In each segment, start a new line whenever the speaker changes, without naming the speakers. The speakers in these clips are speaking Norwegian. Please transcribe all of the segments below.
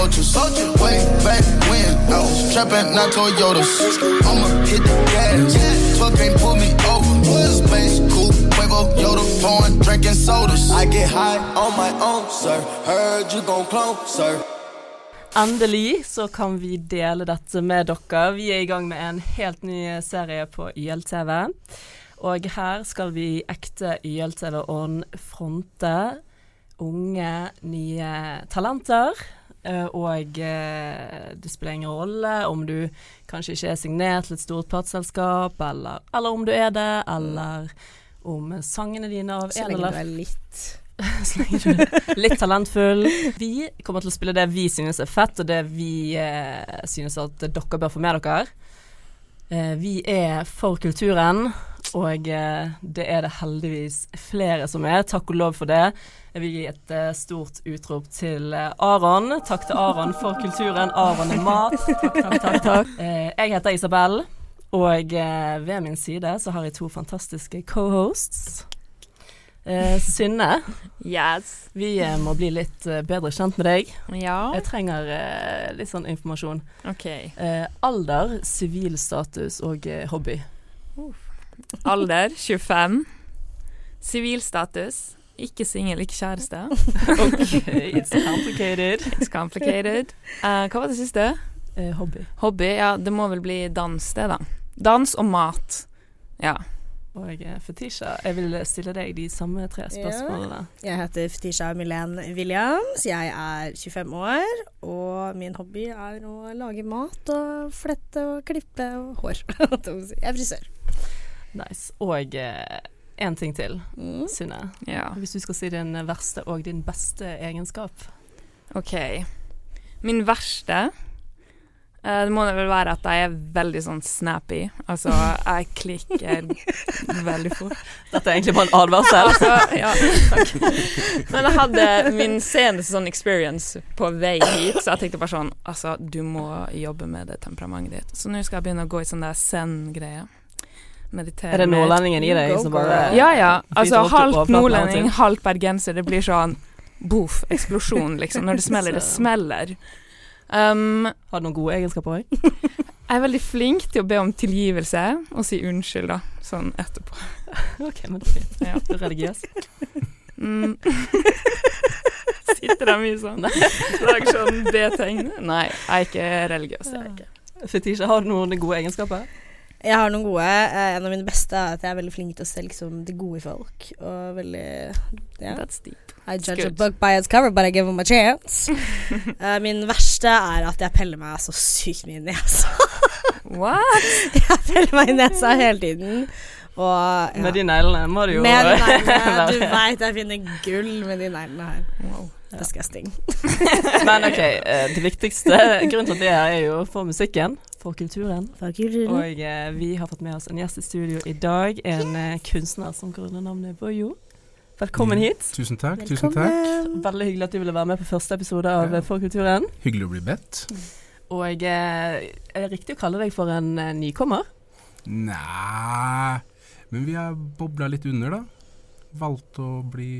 Way back when I was trapping, not Toyotas. I'ma hit the gas. 12 can't pull me over. Space coupe, Quavo, Yoda, pouring, drinking sodas. I get high on my own, sir. Heard you gon' clone, sir.
Endelig så kan vi dele dette med dere. Vi er i gang med en helt ny serie på YLTV. Og her skal vi i ekte YLTV-ånd fronte unge, nye talenter. Eh, Og eh, det spiller ingen rolle om du kanskje ikke er signert til et stort plateselskap, eller, eller om du er det, eller om sangene dine av
Mm. Så
en
lenge
eller
du er litt
så lenge du er litt talentfull. Vi kommer til å spille det vi synes er fett, og det vi eh, synes at dere bør få med dere. Eh, vi er for kulturen, og eh, det er det heldigvis flere som er. Takk og lov for det. Jeg vil gi et eh, stort utrop til eh, Aron. Takk til Aron for kulturen. Aron er mat. Takk, takk, takk. takk. Eh, jeg heter Isabel, og eh, ved min side så har jeg to fantastiske cohosts. Eh, Synne.
Yes.
Vi eh, må bli litt eh, bedre kjent med deg.
Ja.
Jeg trenger eh, litt sånn informasjon.
OK.
Eh, alder, sivil status og eh, hobby.
Alder 25. Sivilstatus. Ikke singel, ikke kjæreste.
It's complicated.
It's complicated. Eh, hva var det siste?
Eh, hobby.
Hobby? Ja, det må vel bli dans, det, da. Dans og mat. Ja.
Og eh, fetisjer. Jeg vil stille deg de samme tre spørsmålene.
Jeg heter Fetisha Milen Williams. Jeg er 25 år, og min hobby er å lage mat og flette og klippe og hår. jeg er frisør.
Nice. Og eh, en ting til,
Mm.
Synne.
ja.
Hvis du skal si din verste og din beste egenskap.
OK. Min verste eh, det må det vel være at jeg er veldig sånn snappy. Altså, jeg klikker veldig fort.
Dette er egentlig bare en advarsel.
Altså, ja, takk. Men jeg hadde min seneste sånn experience på vei hit, så jeg tenkte bare sånn Altså, du må jobbe med det temperamentet ditt. Så nå skal jeg begynne å gå i sånn der zen-greie. Meditere.
Er det
mer.
nordlendingen i deg
Go,
som
girl.
bare
Ja, ja.
Biter
Altså,
opp på
halvt
overflaten av og
nordlending,
til?
halvt bergenser. Det blir sånn boff, eksplosjon, liksom. Når det smeller, det smeller. Um,
Har du noen gode egenskaper òg?
jeg er veldig flink til å be om tilgivelse og si unnskyld, da. Sånn etterpå.
OK, men det er fint.
Ja.
Du er religiøs.
Mm. Sitter jeg mye sånn?
Nei.
Lager sånn B-tegn? Nei, jeg er ikke religiøs. Jeg er ikke.
Fetisha, har du noen gode egenskaper?
Jeg har noen gode. Eh, En av mine beste er at jeg er veldig flink til å se liksom, det gode i folk. Og veldig ja.
That's deep.
I judge a
good.
book by its cover, but I give them a chance. Eh, min verste er at jeg peller meg så sykt mye i nesa.
What?
Jeg peller meg i nesa hele tiden. Og ja.
Med de neglene må du jo
Med de neglene. Du veit jeg finner gull med de neglene her.
Wow.
Disgusting.
Men ok, eh, det viktigste grunnen til at vi er her, er jo for musikken, for kulturen.
Oi.
Og eh, vi har fått med oss en gjest i studio i dag, en eh, kunstner som går under navnet Bojo. Velkommen
Ja.
hit.
Tusen takk. tusen takk.
Veldig hyggelig at du ville være med på første episode av
Ja.
eh, For kulturen.
Hyggelig å bli bedt.
Og eh, er det riktig å kalle deg for en eh, nykommer?
Næh Men vi har bobla litt under, da. Valgte å bli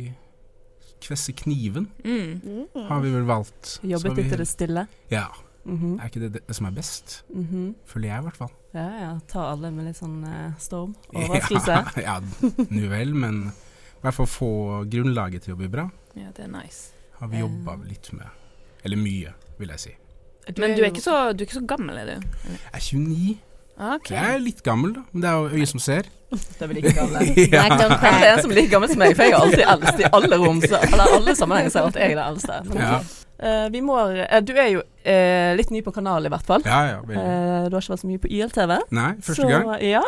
Kvesse kniven,
Mm.
har vi vel valgt. Så har
Jobbet
vi-
litt i det stille.
Ja.
Mhm,
Er ikke det det som er best?
mhm.
Føler jeg, i hvert fall.
Ja, ja. Ta alle med litt sånn eh, storm. Overraskelse.
Ja, ja, nu vel, men i hvert fall få grunnlaget til å bli bra,
Ja, det er nice.
har vi
Ja.
jobba litt med. Eller mye, vil jeg si.
Men du er
jo-
ikke så, du er ikke så gammel, er du?
Jeg er 29.
OK.
Jeg er litt gammel, da. Men det er jo øyet som ser.
Det er vel ikke gammel.
Black
Kanskje
don't
det er
crack.
en som er like gammel som meg, for jeg er alltid eldst i alle rom. Så, eller alle sammenhenger så er alltid jeg den eldste. Men,
Ja,
eh, vi må, eh, du er jo eh, litt ny på kanalen i hvert fall.
ja. ja veldig.
Eh, du har ikke vært så mye på YLTV.
Nei, første
så,
gang.
Ja.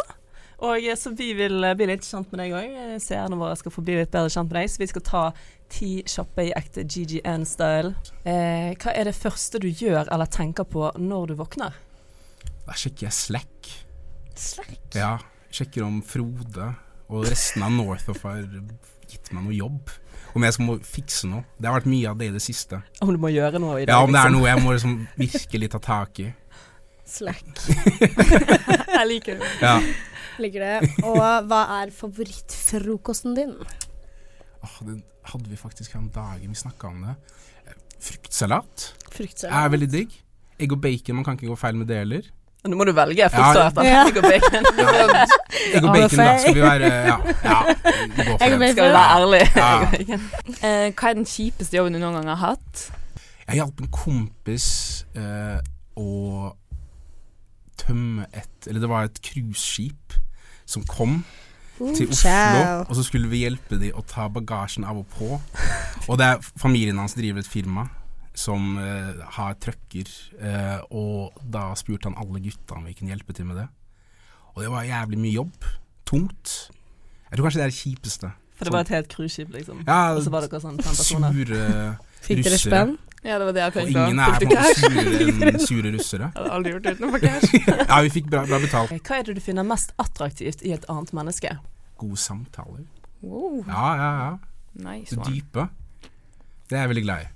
Og eh, så vi vil eh, bli litt kjent med deg òg. Seerne våre skal få bli litt bedre kjent med deg. Så vi skal ta ti kjappe i ekte GGN-style. Eh, hva er det første du gjør eller tenker på når du våkner?
Da sjekker jeg Slack.
Slack.
Ja, sjekker om Frode og resten av Northoff har gitt meg noe jobb. Om jeg skal må fikse noe. Det har vært mye av det i det siste.
Om du må gjøre noe i dag?
Ja, om det er
liksom.
noe jeg må liksom virkelig ta tak i.
Slack.
Jeg liker det.
Ja.
Ligger det. Og hva er favorittfrokosten din?
Åh, det hadde vi faktisk her om dagen vi snakka om det. Eh, Fruktsalat. er
Fruktsalat.
veldig digg. Egg og bacon, man kan ikke gå feil med det heller.
Nå må du velge
Ja.
fruktsalat eller
Ja.
egg og bacon.
Egg og
Ja,
bacon, da,
feil.
skal vi være Ja, ja gå for
Egg og
det.
Skal vi være ærlig
Ja.
Egg og bacon.
Eh, hva er den kjipeste jobben du noen gang har hatt?
Jeg hjalp en kompis eh, å tømme et Eller det var et cruiseskip som kom til Oslo, og så skulle vi hjelpe de å ta bagasjen av og på. Og det er familien hans driver et firma som eh, har trucker, eh, og da spurte han alle gutta om vi kunne hjelpe til med det. Og det var jævlig mye jobb. Tungt. Jeg tror kanskje det er det kjipeste.
For det var et helt cruiseskip, liksom.
Ja,
Og så var dere sånn fem personer.
sure
Fikk dere
russere.
spenn?
Ja, det var det jeg
Og
tenkte.
ingen er på en måte surere enn sure russere.
Jeg hadde aldri gjort det utenfor cash.
Ja, vi fikk bra, bra betalt.
Hva er det du finner mest attraktivt i et annet menneske?
Gode samtaler.
Wow,
Ja, ja, ja.
nice
Det
one.
dype. Det er jeg veldig glad i.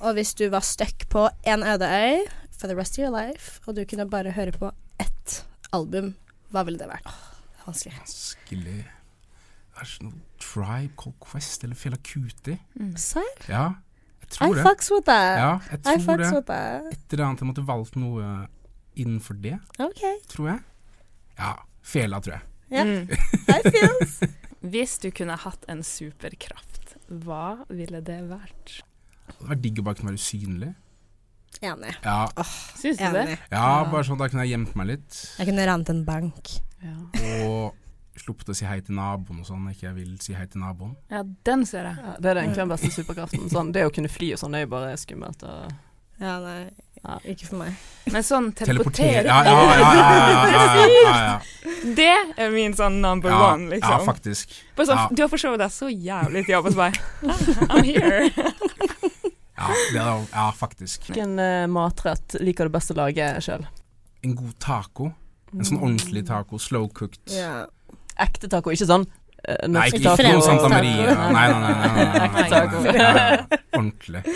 Og hvis du var stuck på en øde øy for the rest of your life, og du kunne bare høre på ett album, hva ville det vært? Åh, det er vanskelig.
Vanskelig Det er sånn noe Tribe Called Quest eller Fela Kuti.
Mm.
Serr?
Ja, jeg
I
tror det.
fucks with that.
Ja, jeg
I
tror
fucks
det.
with that.
Et eller annet jeg måtte valgt noe innenfor det,
OK.
tror jeg. Ja, fela, tror jeg.
Ja.
Mm.
I feels.
Hvis du kunne hatt en superkraft, hva ville det vært?
Det hadde vært digg å bare kunne være usynlig.
Enig.
Ja,
Syns du det?
Enig.
ja bare sånn da kunne jeg gjemt meg litt.
Jeg kunne rant en bank.
Ja.
Og sluppet å si hei til naboen og sånn, når ikke jeg vil si hei til naboen.
ja, den ser jeg.
Ja, det er egentlig den beste superkraften. Sånn, det å kunne fly og sånn det er jo bare skummelt. Og
Ja, nei.
Ja.
Ikke for meg.
Men sånn
Teleportere
teleportere
Ja, ja, ja. ja, ja, ja, ja, ja.
Det er min sånn number
Ja,
one,
ja,
liksom.
faktisk.
Bare sånn,
Ja.
Du har forsovet deg så jævlig til jobb, og så bare "Ah, I'm here.
Ja, det er, ja, faktisk.
Hvilken eh, matrett liker du best å lage sjøl?
En god taco. En
Mm.
sånn ordentlig taco. Slow cooked.
Ja.
Ekte taco, ikke sånn eh,
Nei,
norsk
ikke, ikke
taco.
noe Santa
Taco.
Maria. Nei, nei, nei. nei, nei, nei, nei,
Ekte
nei,
taco.
nei, nei, nei. Ordentlig.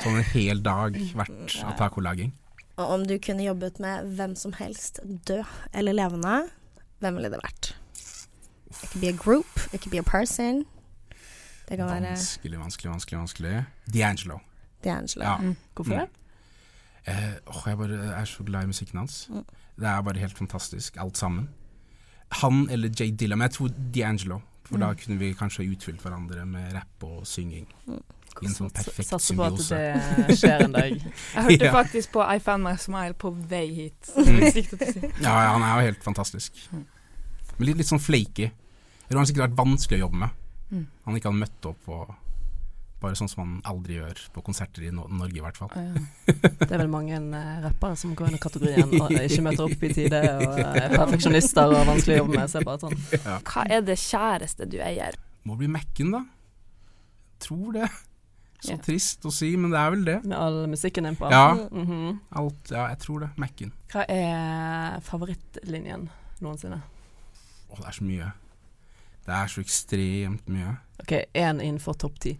Sånn en hel dag verdt av tacolaging.
Og om du kunne jobbet med hvem som helst, død eller levende, hvem ville det vært? It could be a group, it could be a person. Det kan være
Vanskelig, vanskelig, vanskelig. vanskelig D'Angelo.
D'Angelo.
Ja.
Mm.
Hvorfor det?
Eh, åh, jeg bare er så glad i musikken hans.
Mm.
Det er bare helt fantastisk, alt sammen. Han eller Jay Dilla, men jeg tror D'Angelo. For
Mm.
da kunne vi kanskje utfylt hverandre med rapp og synging. I en sånn perfekt
Satser Mm. på at
symbiose.
det eh, skjer en dag.
Jeg hørte
Ja.
faktisk på I Found My Smile på vei hit.
Mm.
Det siktet til å si.
Ja, ja, han er jo helt fantastisk.
Mm.
Men litt, litt sånn flaky. Jeg tror han sikkert har vært vanskelig å jobbe med.
Mm.
Han ikke hadde møtt opp og Bare sånn som han aldri gjør på konserter i no Norge, i hvert fall.
Det er vel mange eh, rappere som går under kategorien og ikke møter opp i tide, og eh, er perfeksjonister og vanskelig å jobbe med. Så jeg bare sånn
Hva er det kjæreste du eier?
Må bli Mac-en, da. Tror det. Så
Ja.
trist å si, men det er vel det.
med all musikken innpå.
Ja,
Mhm.
alt, ja jeg tror det. Mac-en.
Hva er favorittlinjen noensinne?
Å, det er så mye. Det er så ekstremt mye.
Ok, én innenfor topp ti.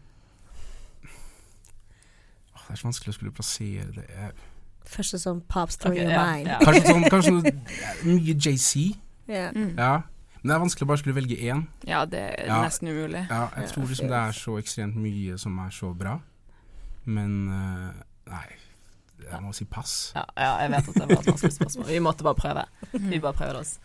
Åh, det er så vanskelig å skulle plassere det. Jeg-
Første sånn pop story
Ok,
of
ja,
mine.
ja.
Kanskje sånn, kanskje noe, mye JC.
Ja.
Ja. Men det er vanskelig å bare skulle velge én.
Mm. Ja, det er
Ja.
nesten umulig.
Ja, jeg
Ja,
tror liksom det er så ekstremt mye som er så bra. Men eh, nei, jeg må si pass.
Ja, ja, jeg vet at det var et vanskelig spørsmål. Vi måtte bare prøve.
Mm.
Vi bare prøvde oss.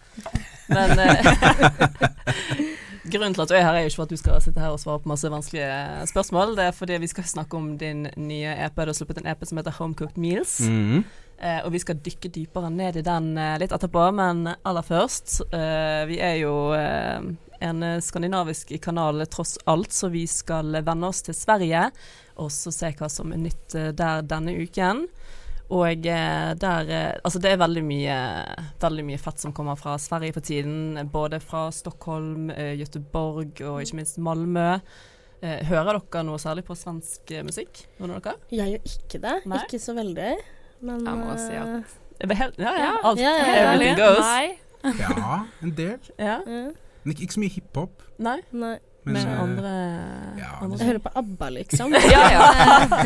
Men eh, grunnen til at du er her, er jo ikke for at du skal sitte her og svare på masse vanskelige spørsmål. Det er fordi vi skal snakke om din nye EP. Du har sluppet en EP som heter Homecooked
Mm.
Meals. Eh, og vi skal dykke dypere ned i den eh, litt etterpå, men aller først eh, Vi er jo eh, en eh, skandinavisk kanal tross alt, så vi skal vende oss til Sverige og så se hva som er nytt eh, der denne uken. Og eh, der eh, Altså, det er veldig mye, veldig mye fett som kommer fra Sverige for tiden. eh, Både fra Stockholm, eh, Göteborg og ikke minst Malmö. Eh, hører dere noe særlig på svensk eh, musikk? Noen av dere?
Jeg gjør ikke det.
Nei.
Ikke så veldig. Men
Jeg må si at-
eh,
Eh, helt- Ja, ja.
Ja,
Alt.
ja, ja, ja.
Everything goes.
Eh, Nei.
Ja, en del.
Ja.
ja,
Men ikke, ikke så mye hiphop.
Nei.
Nei.
Men,
Men
eh,
andre,
ja,
andre
Jeg hører på ABBA, liksom.
Ja, ja.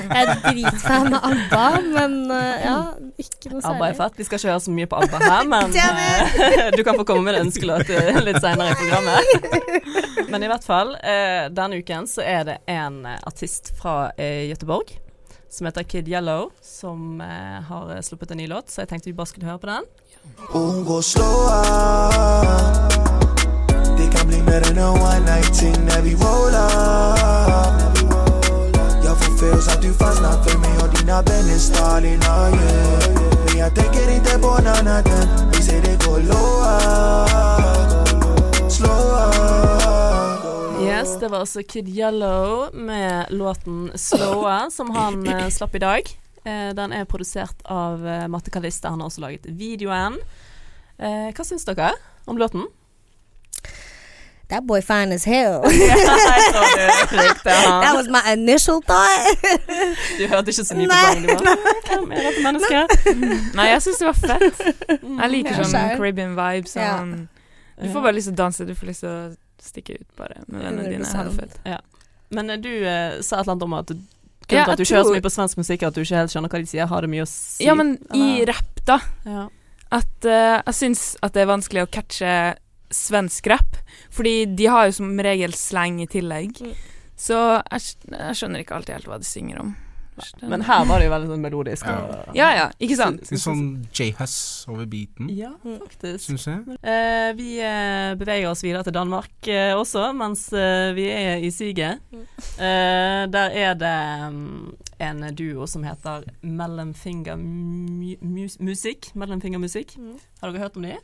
Jeg er dritfan av ABBA, men eh, ja, ikke noe særlig.
ABBA er fett. Vi skal ikke høre så mye på ABBA her, men eh, du kan få komme med en ønskelåt eh, litt seinere i programmet. Men i hvert fall, eh, denne uken så er det en eh, artist fra eh, Göteborg som heter Kid Yellow, som eh, har sluppet en ny låt, så jeg tenkte vi bare skulle høre på den.
Hon går slåa Det kan bli mer än en one night thing när vi rollar Jag får feels att du fastnar för mig och dina vänner starlina oh, yeah. Men jag tänker inte på natten Vi ser det gå låa Slåa
Yes, det var altså Kid Yellow med låten 'Slowa', som han eh, slapp i dag. Eh, den er produsert av eh, Matte Kalista, han har også laget videoen. Eh, hva syns dere om låten?
That boy fine as hell.
Ja, jeg tror du likte
That
han.
was my initial thought.
Du hørte ikke så mye på
Nei,
sangen, du bare "Hm, Hvem er dette mennesket?
Nei, jeg syns det var fett. Jeg liker
Ja,
sånn
skjønner.
Caribbean vibes.
Ja.
Sånn. Du får bare lyst til å danse, du får lyst til å stikke ut bare med vennene dine. Ha det fett.
Men eh, du eh, sa et eller annet om at
Ja,
grunnen til at du
jeg
ikke hører så
tror-
mye på svensk musikk, er at du ikke helt skjønner hva de sier, har det mye å si?
Ja, men i
Eller-
rapp, da.
ja.
At eh, jeg syns at det er vanskelig å catche svensk rapp. Fordi de har jo som regel slang i tillegg.
Mm.
Så jeg, skj- jeg skjønner ikke alltid helt hva de synger om.
Men her var det jo veldig sånn melodisk.
Ja.
og-
Ja ja, ikke sant?
Litt sånn J-Hus over beaten,
Ja, faktisk.
syns jeg.
Eh, vi eh, beveger oss videre til Danmark eh, også, mens eh, vi er i siget.
Mm.
Eh, der er det mm, en duo som heter Mellomfinger Mu- Mus Musikk. Mellomfinger Musikk.
Mm.
Har dere hørt om de?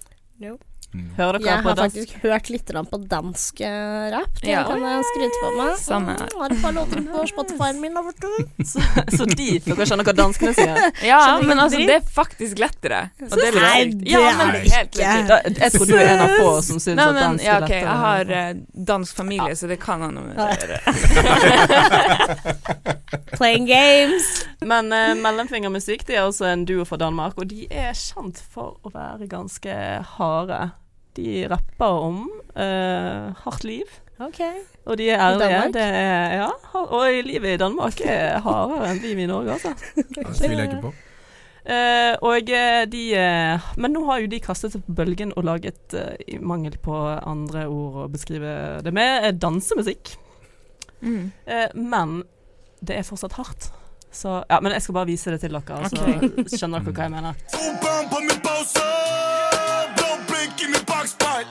No.
Mm.
Hører dere
Jeg
på
har
dans?
faktisk hørt litt grann på dansk eh, rap. Det
Ja.
kan jeg skryte på meg.
Samme her.
Mm, Har et par låter på Spotify-en min. da, vet du.
Så, så de, dere skjønner hva danskene sier?
Ja,
Skjønner
men altså,
dritt.
det er faktisk lettere. Og det er litt
Nei,
sykt.
det
Ja,
er
men
det
helt
ikke.
legit.
Da, jeg tror du er en av få som
Nei,
syns at
men
dansk
ja,
er
OK,
lettere.
jeg har eh, dansk familie, så det kan han jo gjøre.
Playing games.
Men eh, Mellomfingermusikk det er altså en duo fra Danmark, og de er kjent for å være ganske harde. De rapper om eh, hardt liv,
Ok.
og de er ærlige.
Danmark?
Det er, ja, har- og livet i Danmark er hardere enn livet i Norge, altså.
Ja, Det tviler jeg ikke på.
Eh, og eh, de eh, Men nå har jo de kastet seg på bølgen og laget, eh, i mangel på andre ord å beskrive det med, eh, dansemusikk.
Mm.
Eh, men det er fortsatt hardt. Så Ja, men jeg skal bare vise det til dere, så skjønner dere hva jeg mener.
Bomben på min pose Blå blink i min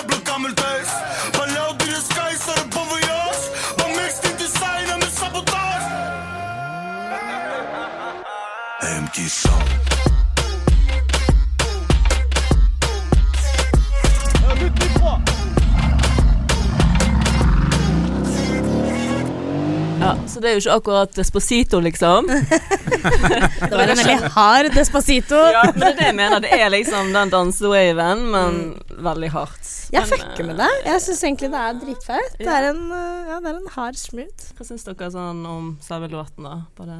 er blevet gammeldags Bare lav det der sky så det på voyage Bare mix din designer med sabotage MG Song
Ja, Så det er jo ikke akkurat Esposito, liksom.
Det var en veldig hard Despacito.
Ja, men det er det jeg mener. Det er liksom den dansewaven, men veldig hardt.
Mm. Jeg
Men,
fucker med
eh,
det. Jeg syns egentlig det er dritfett. Det
Ja.
er en, eh, ja, det er en hard smooth.
Hva syns dere sånn om selve låten, da? Bare,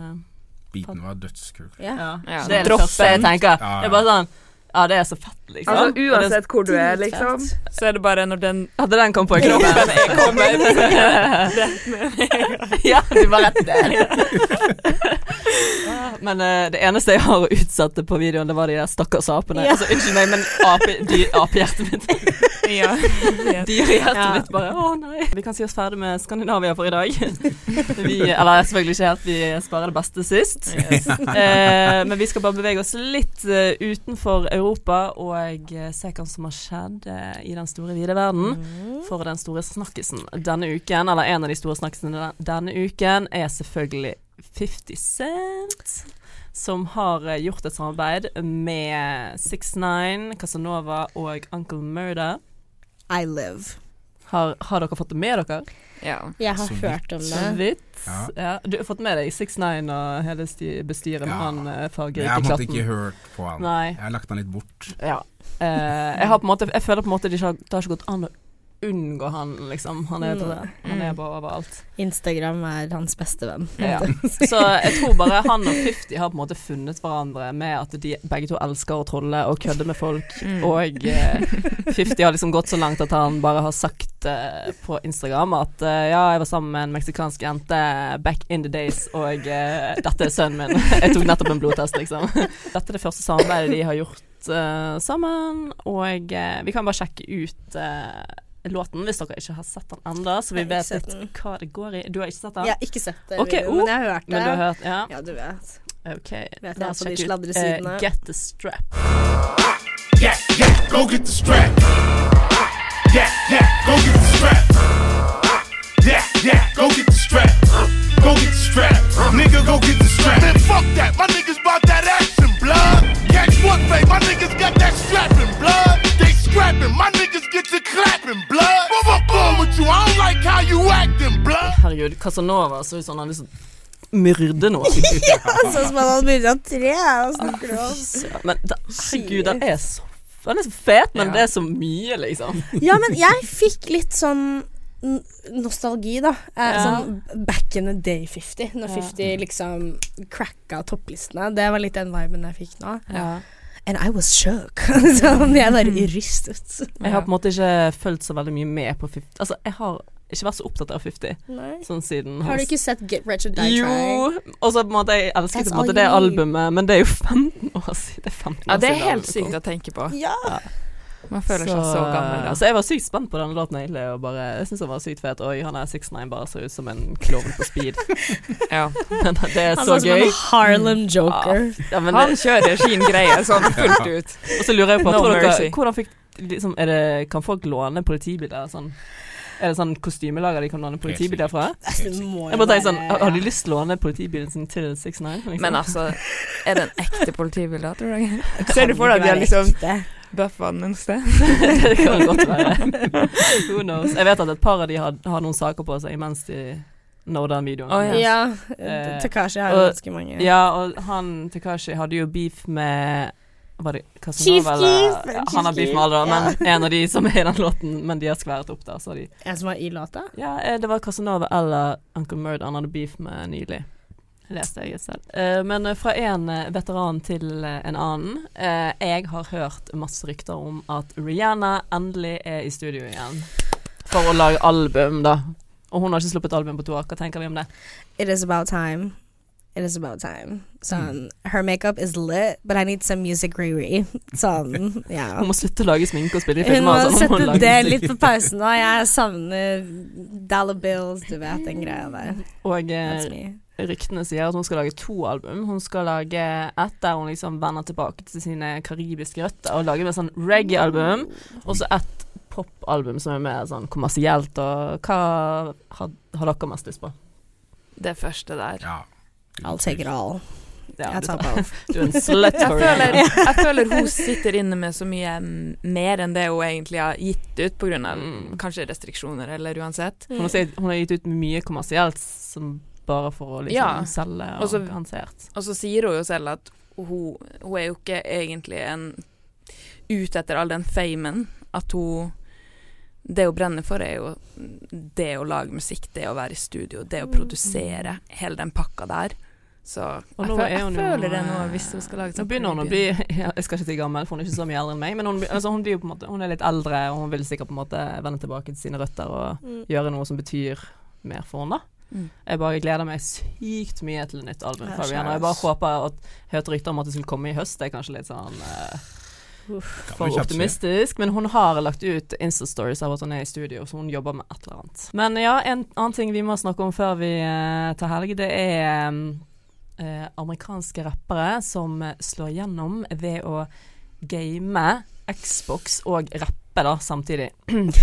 Beaten var dødskul.
ja.
ja.
Ja,
det er det
droppen.
første jeg tenker.
Ja, ja.
Det er bare sånn Ja, det er så fett, liksom. Og det-
hvor
Altså, du er, liksom.
Så er det bare når den
Hadde den kommet på i kroppen jeg Ja, du var rett der. Men eh, det eneste jeg har å utsette på videoen, det var de der stakkars apene.
Ja.
Altså, unnskyld meg, men ape- dy- apehjertet mitt
Ja.
Dyrehjertet
Ja.
mitt bare Å nei. Vi kan si oss ferdig med Skandinavia for i dag. Vi, eller selvfølgelig ikke helt, vi sparer det beste sist. Eh, men vi skal bare bevege oss litt eh, utenfor Europa og eh, se hva som har skjedd eh, i den store vide verden.
Mm.
For den store snakkisen denne uken, eller en av de store snakkisene den- denne uken, er selvfølgelig 50 Cent. Som har eh, gjort et samarbeid med 69, Casanova og Uncle Murder.
I live.
Har, har dere fått det med dere?
ja.
Jeg har
Så vidt.
hørt om
Så
det.
vidt.
Ja.
Ja. Du har fått med deg 69 og hele sti- bestyret med
Ja.
han eh,
Jeg
fargerike
har på en måte
klatten?
ikke hørt på han.
Nei.
Jeg har lagt han litt bort.
Ja. Eh, jeg, har på en måte, jeg føler på en måte det ikke har, det har ikke gått an å unngå han, liksom. Han er, bare, han er bare overalt.
Instagram er hans beste venn.
Ja. Så jeg tror bare han og 50 har på en måte funnet hverandre med at de begge to elsker å trolle og kødde med folk, og eh, 50 har liksom gått så langt at han bare har sagt eh, på Instagram at eh, ja, jeg var sammen med en meksikansk jente back in the days, og eh, dette er sønnen min. jeg tok nettopp en blodtest, liksom. Dette er det første samarbeidet de har gjort ut eh, sammen, og eh, vi kan bare sjekke ut eh, låten hvis dere ikke har sett den ennå, så vi
Jeg har ikke
vet
sett
litt hva det går i. Du har ikke sett den?
Jeg har ikke sett det,
Ok,
videoen,
oh,
men jeg har hørt det.
Men du har hørt? Ja.
Ja, du vet.
OK.
jeg
Da
på de
sjekk ut,
sladresidene.
eh, Get the strap.
Yeah, yeah, go get the strap. Yeah, yeah, go get the strap. Yeah, yeah, go get the strap. Go get the strap. Nigga, go get the strap. Man, fuck that. My niggas bought that action, blood. Catch one thing. My niggas got that strapping, blood. They scrapping. My niggas get to clapping, blood. What what wrong with you? I don't like how you acting, blood.
Herregud, Casanova så ut som han hadde lyst til å myrde noen.
Sånn som han hadde begynt av tre. Og snakker om.
Søren, Men da, herregud, den er så den er så fet, men
Ja.
det er så mye, liksom.
Ja, men jeg fikk litt sånn n- nostalgi, da. Eh,
Ja.
Sånn back in the day 50. Når
Ja.
50 liksom cracka topplistene. Det var litt den viben jeg fikk nå. And I was shook. sånn, jeg bare rystet.
Jeg har på en måte ikke fulgt så veldig mye med på 50 Altså, jeg har ikke vært så opptatt av 50 sånn siden
Har du ikke sett Get Rich or Die Trying?
Jo! Og så på en måte, jeg elsket
That's
på en måte
all
det
you need.
albumet, men det er jo 15 år siden. Det er 15 år
Ja, det er
siden
helt
albumet
sykt
kom.
å tenke på.
Ja.
Man føler seg så eh, gammel. altså. da.
så jeg var sykt spent på den låten egentlig, og bare Jeg syns den var sykt fet. Oi, han er 69 bare ser ut som en klovn på speed.
Ja.
Men det er
Han
så
så ut som
gøy.
en Harlem Joker.
Ja, men
Han
det,
kjører sin greie sånn fullt ut.
og så lurer jeg på
No
tror dere,
mercy.
Hvordan fikk liksom, er det, Kan folk låne politibiler? Sånn? Er det sånn kostymelager de kan låne politibiler fra?
Det Altså, må jo
Jeg bare tenker sånn,
være-
har- Har de lyst til å låne politibilen sin til 69? Liksom?
Men altså, er det en ekte politibil da, tror du? Ser du for deg at de har liksom
Ekte.
bøffa den et sted?
det kan godt være. Who knows. Jeg vet at et par av de har, har noen saker på seg mens de når den videoen.
Å,
ja.
Ja.
Eh,
Takashi har
og-
ganske mange.
og han Tekashi hadde jo beef med var det
Chief
Casanova, eller?
Keef,
Ja, han har
Chief
beef med alle, da,
Keef,
men en av de som er i den låten, men de har skværet opp der, så de
En som var i låta?
Ja, eh, det var Casanova eller Uncle Murd han hadde beef med nylig. Leste jeg et sted. Eh, Men eh, fra en eh, veteran til eh, en annen. Eh, Jeg har hørt masse rykter om at Rihanna endelig er i studio igjen for å lage album, da. Og hun har ikke sluppet album på to år. Hva tenker vi om det?
It is about time. It is about time. Sånn, her makeup is lit, but I need some music re-re. Sånn, ja.
Hun må slutte å lage sminke og spille i
Hun
filmer.
må
og sånn,
sette
lage
det
musikk.
litt på pausen nå. Jeg savner dollar bills, du vet den greia der.
Og eh,
That's me.
ryktene sier at hun skal lage to album. Hun skal lage et der hun liksom vender tilbake til sine karibiske røtter og lager et sånn reggae-album, og så et pop-album som er mer sånn kommersielt. Og hva har, har dere mest lyst på?
Det første der.
Ja.
I'll take it all.
Ja,
Jeg
du, tar-
tar på alt.
du er en slut
Jeg
for
føler,
det.
jeg føler hun sitter inne med så mye mm, mer enn det hun egentlig har gitt ut, pga.
Mm.
kanskje restriksjoner eller uansett.
Hun, har sagt- hun har gitt ut mye kommersielt som bare for å liksom
Ja.
selge og
Og så-
lansert.
Og så sier hun jo selv at hun, hun er jo ikke egentlig en ute etter all den famen. At hun Det hun brenner for, er jo det å lage musikk, det å være i studio, det å produsere. Hele den pakka der. Så
Og
jeg,
nå
føl,
er
jeg
hun jo- eh,
føler det nå, hvis hun skal lage sånn
Nå begynner hun å bli ja, Jeg skal ikke si gammel, for hun er ikke så mye eldre enn meg, men hun, blir- altså, hun, blir jo på en måte, hun er litt eldre, og hun vil sikkert på en måte vende tilbake til sine røtter og
Mm,
gjøre noe som betyr mer for henne. da.
Mm.
Jeg bare gleder meg sykt mye til nytt album
Ja,
fra Rihanna. Jeg bare håper at jeg hørte rykter om at det skulle komme i høst. Det er kanskje litt sånn eh,
Kan vi
for
kjapt si.
optimistisk. Men hun har lagt ut Insta-stories av at hun er i studio, så hun jobber med et eller annet. Men ja, en annen ting vi må snakke om før vi eh, tar helg, det er eh, amerikanske rappere som slår gjennom ved å game Xbox og rappe da samtidig.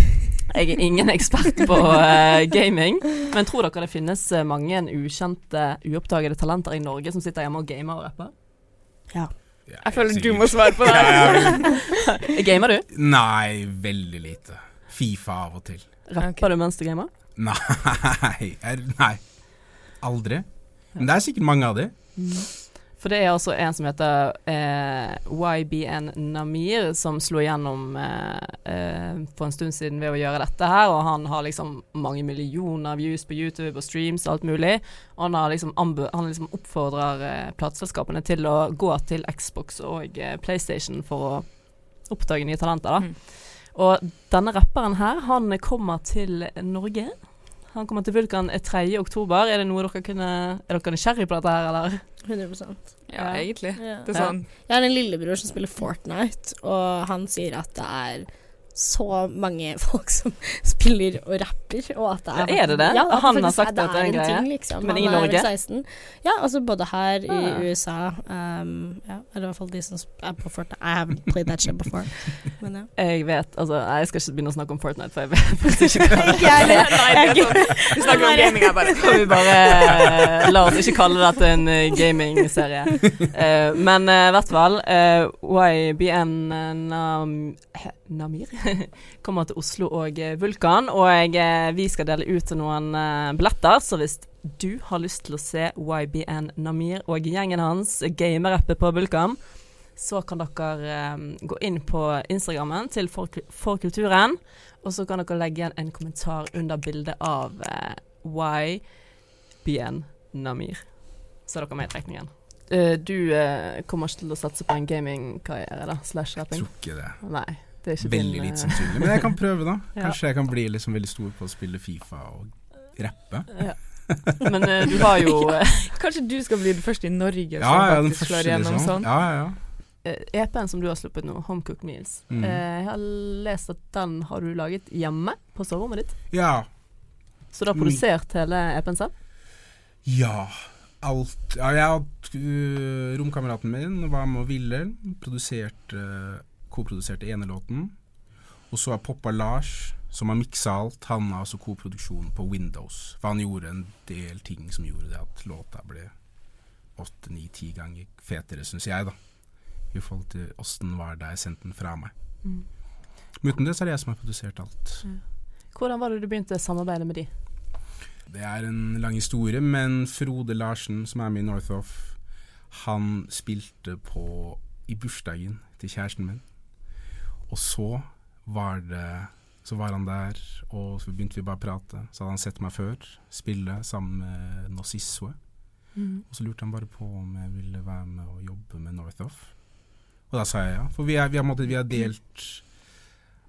Jeg er ingen ekspert på eh, gaming, men tror dere det finnes eh, mange ukjente, uoppdagede talenter i Norge som sitter hjemme og gamer og rapper?
Ja,
Jeg føler du
sikkert.
må svare på det.
Ja, ja, ja.
Eh, Gamer du?
Nei, veldig lite. Fifa av og til.
Rapper
Ok.
du mens du gamer?
Nei, er, nei. Aldri. Men det er sikkert mange av de.
For det er altså en som heter eh, YBN Namir, som slo igjennom eh, eh, for en stund siden ved å gjøre dette her, og han har liksom mange millioner views på YouTube og streams og alt mulig, og han, har liksom anbu- han liksom oppfordrer eh, plateselskapene til å gå til Xbox og eh, PlayStation for å oppdage nye talenter, da.
Mm.
Og denne rapperen her, han kommer til Norge. Han kommer til Vulkan eh, 3. oktober. Er det noe dere kunne Er dere nysgjerrig på dette her, eller?
100
Ja,
Ja.
egentlig.
ja.
Det er
Ja.
sånn
Jeg har en lillebror som spiller Fortnite, og han sier at det er så mange folk som spiller og rapper. Og at det er,
Ja, er det det?
Ja, at
Han har
faktisk
sagt
er-
at det er en greie.
ting, liksom.
Men
Han
i
er vel
Norge?
16. Ja, altså både her i
Ah.
USA um, ja, Eller i hvert fall de som er på Fortnite. I haven't played that shit before. Men ja.
Jeg vet, altså Nei, jeg skal ikke begynne å snakke om Fortnite, for jeg vet faktisk ikke hva det er.
Nei, det er sånn. Vi snakker om gaming her, bare.
Kan vi bare eh, la oss ikke kalle dette en eh, gamingserie. Eh, men eh, i hvert fall, eh, YBN eh, Nam he- Namir kommer til Oslo og eh, Vulkan, og eh, vi skal dele ut noen eh, billetter, så hvis du har lyst til å se YBN Namir og gjengen hans gamerappe på Vulkan, så kan dere eh, gå inn på Instagrammen til For, for kulturen, og så kan dere legge igjen en kommentar under bildet av eh, YBN Namir. Så er dere med i trekningen. Eh, du eh, kommer ikke til å satse på en gamingkarriere, da? Slash rapping?
Tror ikke det.
Nei. Det er ikke
Veldig
din, eh,
lite sannsynlig. Men jeg kan prøve, da.
Ja.
Kanskje jeg kan bli liksom veldig stor på å spille Fifa og rappe.
Ja. Men eh, du har jo eh,
Kanskje du skal bli den første i Norge
Ja,
som
ja, den
sånn faktisk
første,
slår igjennom
liksom.
sånn.
Ja, ja, ja.
EP-en E som du har sluppet nå, Homecooked Meals.
Mhm.
Eh, jeg har lest at den har du laget hjemme på soverommet ditt.
ja.
Så du har produsert hele EP-en selv?
Ja. Alt ja, Jeg og øh, romkameraten min var med og ville. Produserte Koproduserte enelåten. Og så har Poppa Lars, som har miksa alt, han har altså koproduksjon på Windows. For han gjorde en del ting som gjorde det at låta ble åtte, ni, ti ganger fetere, syns jeg, da. I forhold til åssen var det jeg sendte den fra meg.
Mm.
Men uten det så er det jeg som har produsert alt.
Hvordan var det du begynte samarbeidet med de?
Det er en lang historie, men Frode Larsen, som er med i Northoff, han spilte på i bursdagen til kjæresten min. Og så var det Så var han der, og så begynte vi bare å prate. Så hadde han sett meg før spille sammen med Nozizwe. Og så lurte han bare på om jeg ville være med og jobbe med Northoff. Og da sa jeg ja. For vi, er, vi, har, måttet- vi har delt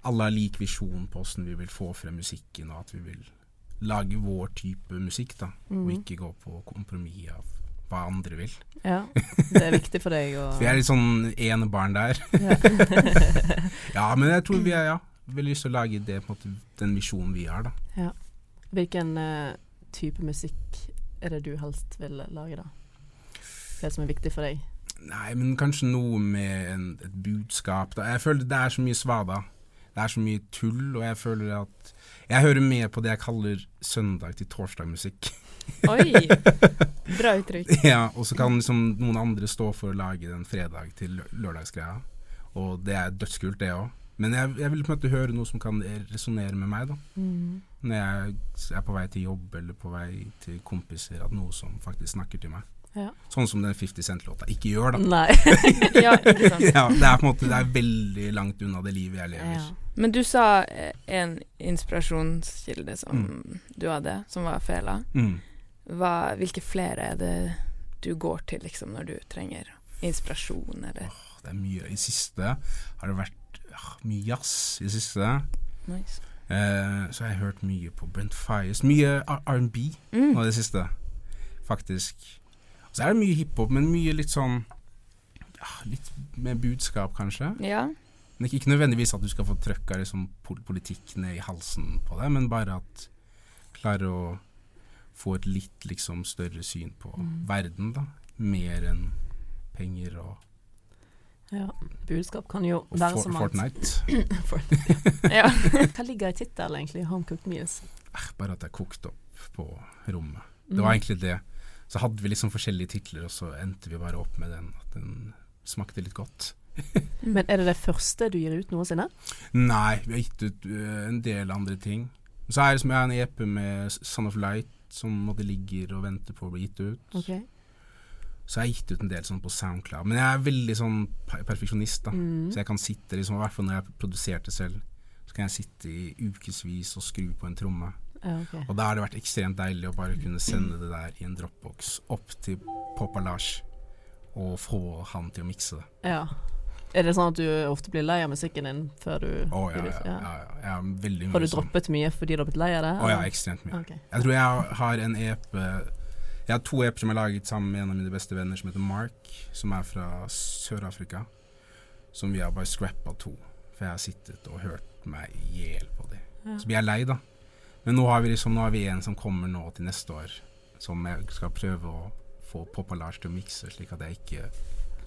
Alle har lik visjon på åssen vi vil få frem musikken, og at vi vil lage vår type musikk, da.
Mhm.
Og ikke gå på kompromiss av hva andre vil.
Ja, det er viktig for deg å
Vi er litt sånn ene barn der. ja, men jeg tror vi er ja, veldig lyst til å lage det, på en måte, den visjonen vi har, da.
Hvilken eh, type musikk er det du helst vil lage, da? Det som er viktig for deg?
Nei, men kanskje noe med en, et budskap. Da. Jeg føler det er så mye svada. Det er så mye tull, og jeg føler at Jeg hører med på det jeg kaller søndag til torsdag-musikk.
Oi! Bra uttrykk.
ja, og så kan liksom noen andre stå for å lage den fredag til lø- lørdagsgreia. Og det er dødskult, det òg. Men jeg, jeg vil på en måte høre noe som kan resonnere med meg, da. Når jeg s- er på vei til jobb eller på vei til kompiser, at noe som faktisk snakker til meg.
Ja.
Sånn som den 50 Cent-låta ikke gjør, da.
Nei.
Ja, ikke sant.
ja, det er på en måte Det er veldig langt unna det livet jeg lever.
Ja.
Men du sa eh, en inspirasjonskilde som du hadde, som var fela.
Mm.
Hva, hvilke flere er det du går til liksom, når du trenger inspirasjon, eller
Åh, Det er mye I det siste har det vært ah, mye jazz. I det siste
nice.
eh, så har jeg hørt mye på Brent Fires. Mye R- R&B
Mm.
nå i det siste, faktisk. Og så er det mye hiphop, men mye litt sånn ah, Litt med budskap, kanskje.
Ja.
Men ikke, ikke nødvendigvis at du skal få trøkka liksom, pol- politikk ned i halsen på deg, men bare at klare å få et litt liksom, større syn på
Mm.
verden, da. Mer enn penger og,
Ja. Budskap kan jo
og
være
for,
som alt.
Fortnite.
ja.
Hva ligger i tittelen, egentlig? Homecooked meals.
Eh, Bare at det er kokt opp på rommet. Det var egentlig det. Så hadde vi liksom forskjellige titler, og så endte vi bare opp med den. At den smakte litt godt.
Men er det det første du gir ut noensinne?
Nei, vi har gitt ut øh, en del andre ting. Så er det som jeg har en EP med Son of Light som måtte ligger og venter på å bli gitt ut.
Ok.
Så jeg har gitt ut en del sånn på SoundCloud. Men jeg er veldig sånn per- perfeksjonist, da.
Mm.
Så jeg kan sitte, liksom, i hvert fall når jeg produserte selv, så kan jeg sitte i ukevis og skru på en tromme.
Ja, ok.
Og da har det vært ekstremt deilig å bare kunne sende det der i en dropbox opp til Poppa Lars, og få han til å mikse det.
Ja. Er det sånn at du ofte blir lei av musikken din før du
Å ja,
gir
ja,
ut?
ja, ja. Jeg er veldig mye
Har du
sånn-
droppet mye fordi du har blitt lei av det?
Å ja,
eller?
ekstremt mye.
Ok.
Jeg tror jeg har en EP Jeg har to apper som jeg har laget sammen med en av mine beste venner som heter Mark, som er fra Sør-Afrika. Som vi har bare scrappa to, for jeg har sittet og hørt meg i hjel på de.
Ja.
Så blir jeg lei, da. Men nå har vi liksom, nå har vi en som kommer nå til neste år, som jeg skal prøve å få Poppa Lars til å mikse, slik at jeg ikke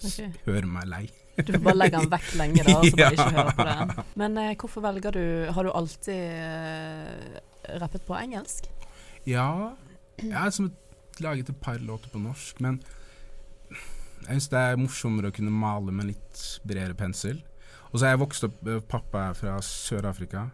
s-
Ok.
hører meg lei.
Du får bare legge den vekk lenge, da, og så
Ja.
bare ikke høre på det. Men eh, hvorfor velger du Har du alltid eh, rappet på engelsk?
Ja, jeg har som et, laget et par låter på norsk, men jeg syns det er morsommere å kunne male med en litt bredere pensel. Og så har jeg vokst opp eh, Pappa er fra Sør-Afrika,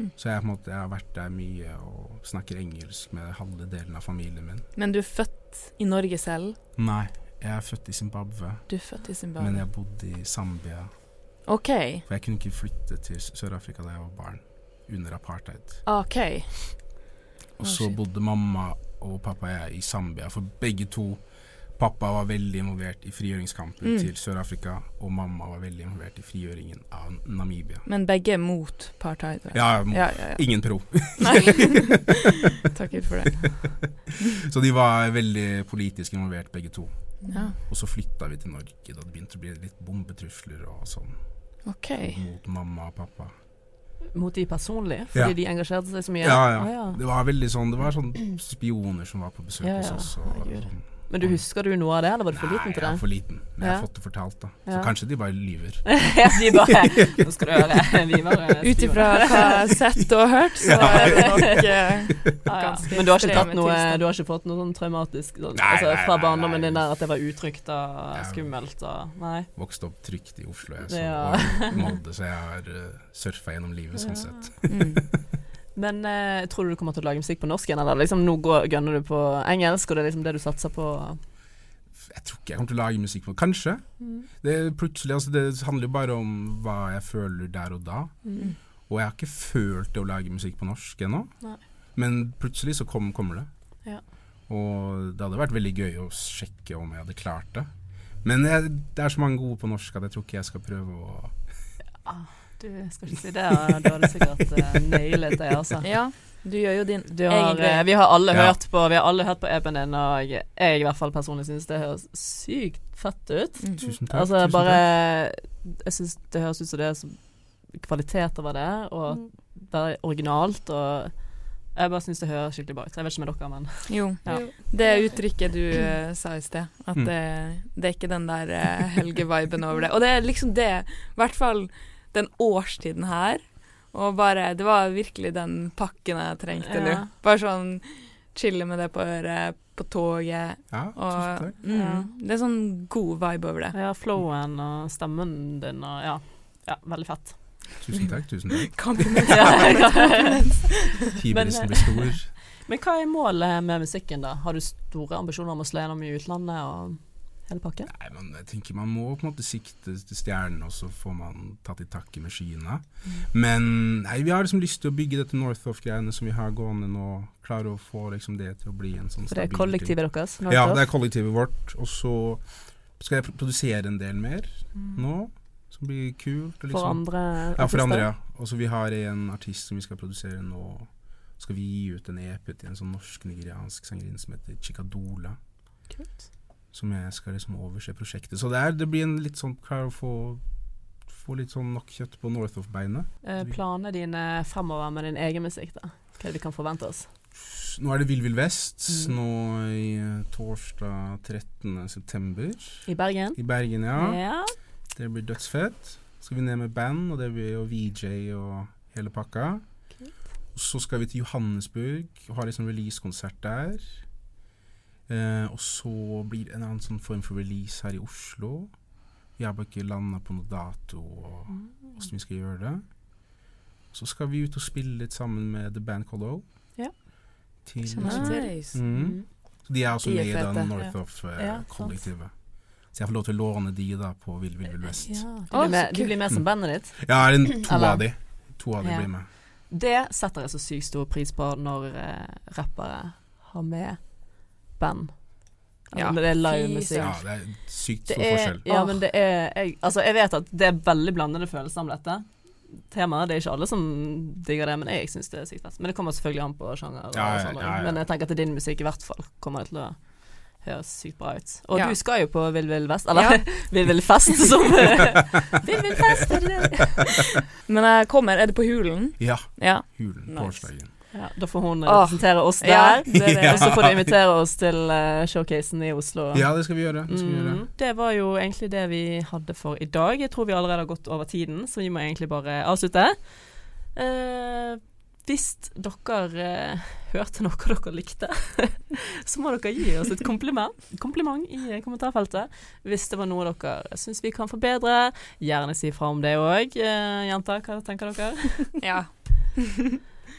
Mm.
så jeg, på en måte, jeg har vært der mye og snakker engelsk med halve delen av familien min.
Men du er født i Norge selv.
Nei, jeg er født i Zimbabwe,
Du er født i Zimbabwe.
men jeg bodde i Zambia.
OK.
For jeg kunne ikke flytte til S- Sør-Afrika da jeg var barn, under apartheid.
OK.
Og
Å,
så
shit.
bodde mamma og pappa og jeg i Zambia, for begge to Pappa var veldig involvert i frigjøringskampen
Mm.
til Sør-Afrika, og mamma var veldig involvert i frigjøringen av Namibia.
Men begge er mot apartheid. vel?
Ja, ja,
ja, ja, ja.
ingen pro.
Nei. Takk Gud for det.
Så de var veldig politisk involvert, begge to.
Ja,
Og så flytta vi til Norge, da det begynte å bli litt bombetrusler og sånn
OK.
mot mamma og pappa.
Mot de personlig,
Ja.
fordi de engasjerte seg så mye?
Ja, ja.
Å, ja.
Det var veldig sånn Det var sånn spioner som var på besøk
Ja, ja.
hos oss. Og,
Herregud.
sånn.
Men du husker du noe av det, eller var du for liten
Nei,
til
jeg
det?
er for liten. Men jeg har
Ja.
fått det fortalt, da. Så
Ja.
kanskje de bare lyver.
Ja, de bare Nå skal du høre. De bare
Ut ifra hva jeg har sett og hørt, så er det nok eh,
ja.
ganske
Men du har, ikke
ekstreme
tatt noe,
tilstander.
du har ikke fått noe sånn traumatisk sånn,
Nei,
altså,
nei,
fra
nei,
barndommen
nei.
din der at det var utrygt og
Ja.
skummelt og Nei.
vokst opp trygt i Oslo jeg, så,
Ja.
og i Molde, så jeg har uh, surfa gjennom livet sånn
Ja.
sett.
mm.
Men eh, tror du du kommer til å lage musikk på norsk igjen, eller liksom nå går, gønner du på engelsk, og det er liksom det du satser på?
Jeg tror ikke jeg kommer til å lage musikk på Kanskje.
Mm.
Det, er plutselig, altså, det handler jo bare om hva jeg føler der og da.
Mm.
Og jeg har ikke følt det å lage musikk på norsk ennå,
Nei.
men plutselig så kom, kommer det.
Ja.
Og det hadde vært veldig gøy å sjekke om jeg hadde klart det. Men jeg, det er så mange gode på norsk at jeg tror ikke jeg skal prøve å
Mm. Du skal ikke si det, og da har du sikkert eh, nailet det, altså.
Ja, du gjør jo din
Du har,
egen greie.
eh, vi har alle
Ja.
hørt på Vi har alle hørt på EP-en din, og jeg i hvert fall personlig synes det høres sykt fett ut.
Mm.
Tusen takk.
Altså
tusen
bare
takk.
Jeg syns det høres ut som det er så kvalitet over det, og
Mm.
være originalt og Jeg bare syns det høres skikkelig bra ut. Jeg vet ikke med dere, men
Jo.
Ja.
Jo.
Det uttrykket du eh, sa i sted, at
Mm.
det, det er ikke den der eh, helgeviben over det. Og det er liksom det, i hvert fall den årstiden her. Og bare Det var virkelig den pakken jeg trengte nå.
Ja.
Bare sånn chille med det på øret, på toget
Ja, tusen
og
takk.
mm, Det er sånn god vibe over det.
ja, flowen og stemmen din og ja. ja veldig fett.
Tusen takk. Tusen takk.
Kompliment.
men
Hybelisen blir stor.
hva er målet med musikken, da? Har du store ambisjoner om å slå gjennom i utlandet og hele pakken?
Nei, men jeg tenker Man må på en måte sikte til stjernene, og så får man tatt i takke med skyene.
Mm.
Men nei, vi har liksom lyst til å bygge dette Northoff-greiene som vi har gående nå. Klare å få liksom det til å bli en sånn
For det er
stabil ting.
kollektivet deres? nå,
Ja,
da?
det er kollektivet vårt. Og så skal jeg pro- produsere en del mer nå, som blir
Mm.
kult. og
For
liksom-
andre?
Ja, for andre,
artister?
ja. Og så vi har en artist som vi skal produsere nå. Skal vi gi ut en EP til en sånn norsk-nigeriansk sangerinne som heter Chikadola.
Kult.
som jeg skal liksom overse prosjektet. Så det, er, det blir en litt sånn klar å få, få litt sånn nok kjøtt på Northoff-beinet.
Eh, Planene dine fremover med din egen musikk, da? Hva er det vi kan forvente oss?
Nå er det Vill Vill Vest,
Mm.
nå i eh, torsdag 13. september.
I Bergen?
I Bergen, ja.
ja.
Det blir dødsfett. Skal vi ned med band, og det blir jo VJ og hele pakka. Og så skal vi til Johannesburg og har liksom releasekonsert der. Eh, og så blir det en annen sånn form for release her i Oslo. Vi har bare ikke landa på noe dato og
Mm.
åssen vi skal gjøre det. Så skal vi ut og spille litt sammen med The Band Called O.
Ja.
Til,
Kjenner jeg
Nice.
mm. Så de er også
De er
med i
fete, ja.
da Northoff-kollektivet. eh, så jeg får lov til å låne de da på Vill Vill Vill Vest.
Ja, du,
Å,
blir med,
så
du blir med som
Mm.
bandet ditt.
Ja, er det to
Eller-
av de. To av de
Ja.
blir med.
Det setter jeg så sykt stor pris på når eh, rappere har med band. Altså,
Ja,
når det er
fy
live
Ja,
musikk.
det er sykt
Det
stor
er,
forskjell.
ja, men det er jeg, Altså, jeg vet at det er veldig blandede følelser om dette temaet. Det er ikke alle som digger det, men jeg syns det er sykt fett. Men det kommer selvfølgelig an på sjanger. Og
Ja, ja,
sånn,
ja, ja.
Men jeg tenker at din musikk i hvert fall kommer til å Høres sykt bra ut. Og
Ja.
du skal jo på Vill Vill Vest,
Ja.
eller Vill Vill Fest, som Vill Vill Fest, er det det?
Men jeg kommer. Er det på Hulen?
Ja,
Ja.
hulen
Nice.
på årsdagen.
Ja, da får hun
Åh.
representere oss
Ja,
der.
det er det.
Og så får du invitere oss til eh, showcasen i Oslo.
Ja, det skal vi gjøre. Det skal vi gjøre.
Mm, det var jo egentlig det vi hadde for i dag. Jeg tror vi allerede har gått over tiden, så vi må egentlig bare avslutte. Eh, hvis dere eh, hørte noe dere likte, så må dere gi oss et kompliment, kompliment i eh, kommentarfeltet. Hvis det var noe dere syns vi kan forbedre, gjerne si fra om det òg. Eh, jenter, hva tenker dere?
ja.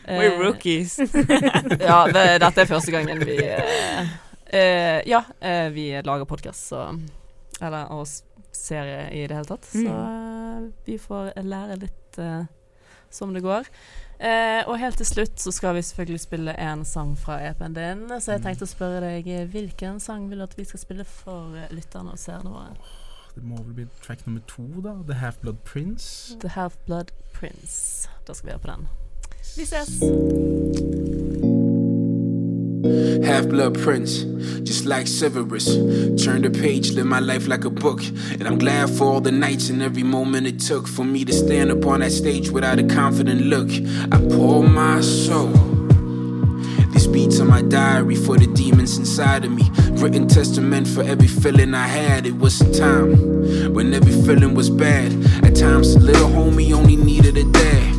Eh,
We're rookies.
ja, det, dette er første gangen vi eh, eh, Ja, eh, vi lager podkast, så Eller og s- serie i det hele tatt. Så eh, vi får lære litt eh, som det går. Eh, og helt til slutt så skal vi selvfølgelig spille en sang fra EP-en din. Så jeg tenkte å spørre deg eh, hvilken sang vil du at vi skal spille for eh, lytterne og seerne våre?
Det må vel bli track nummer to, da. The Half Blood Prince.
The Half-Blood Prince. Da skal vi høre på den. Vi ses!
Half blood prince, just like Severus. Turn the page, live my life like a book. And I'm glad for all the nights and every moment it took for me to stand upon that stage without a confident look. I pour my soul. These beats are my diary for the demons inside of me. Written testament for every feeling I had. It was a time when every feeling was bad. At times, little homie only needed a dad.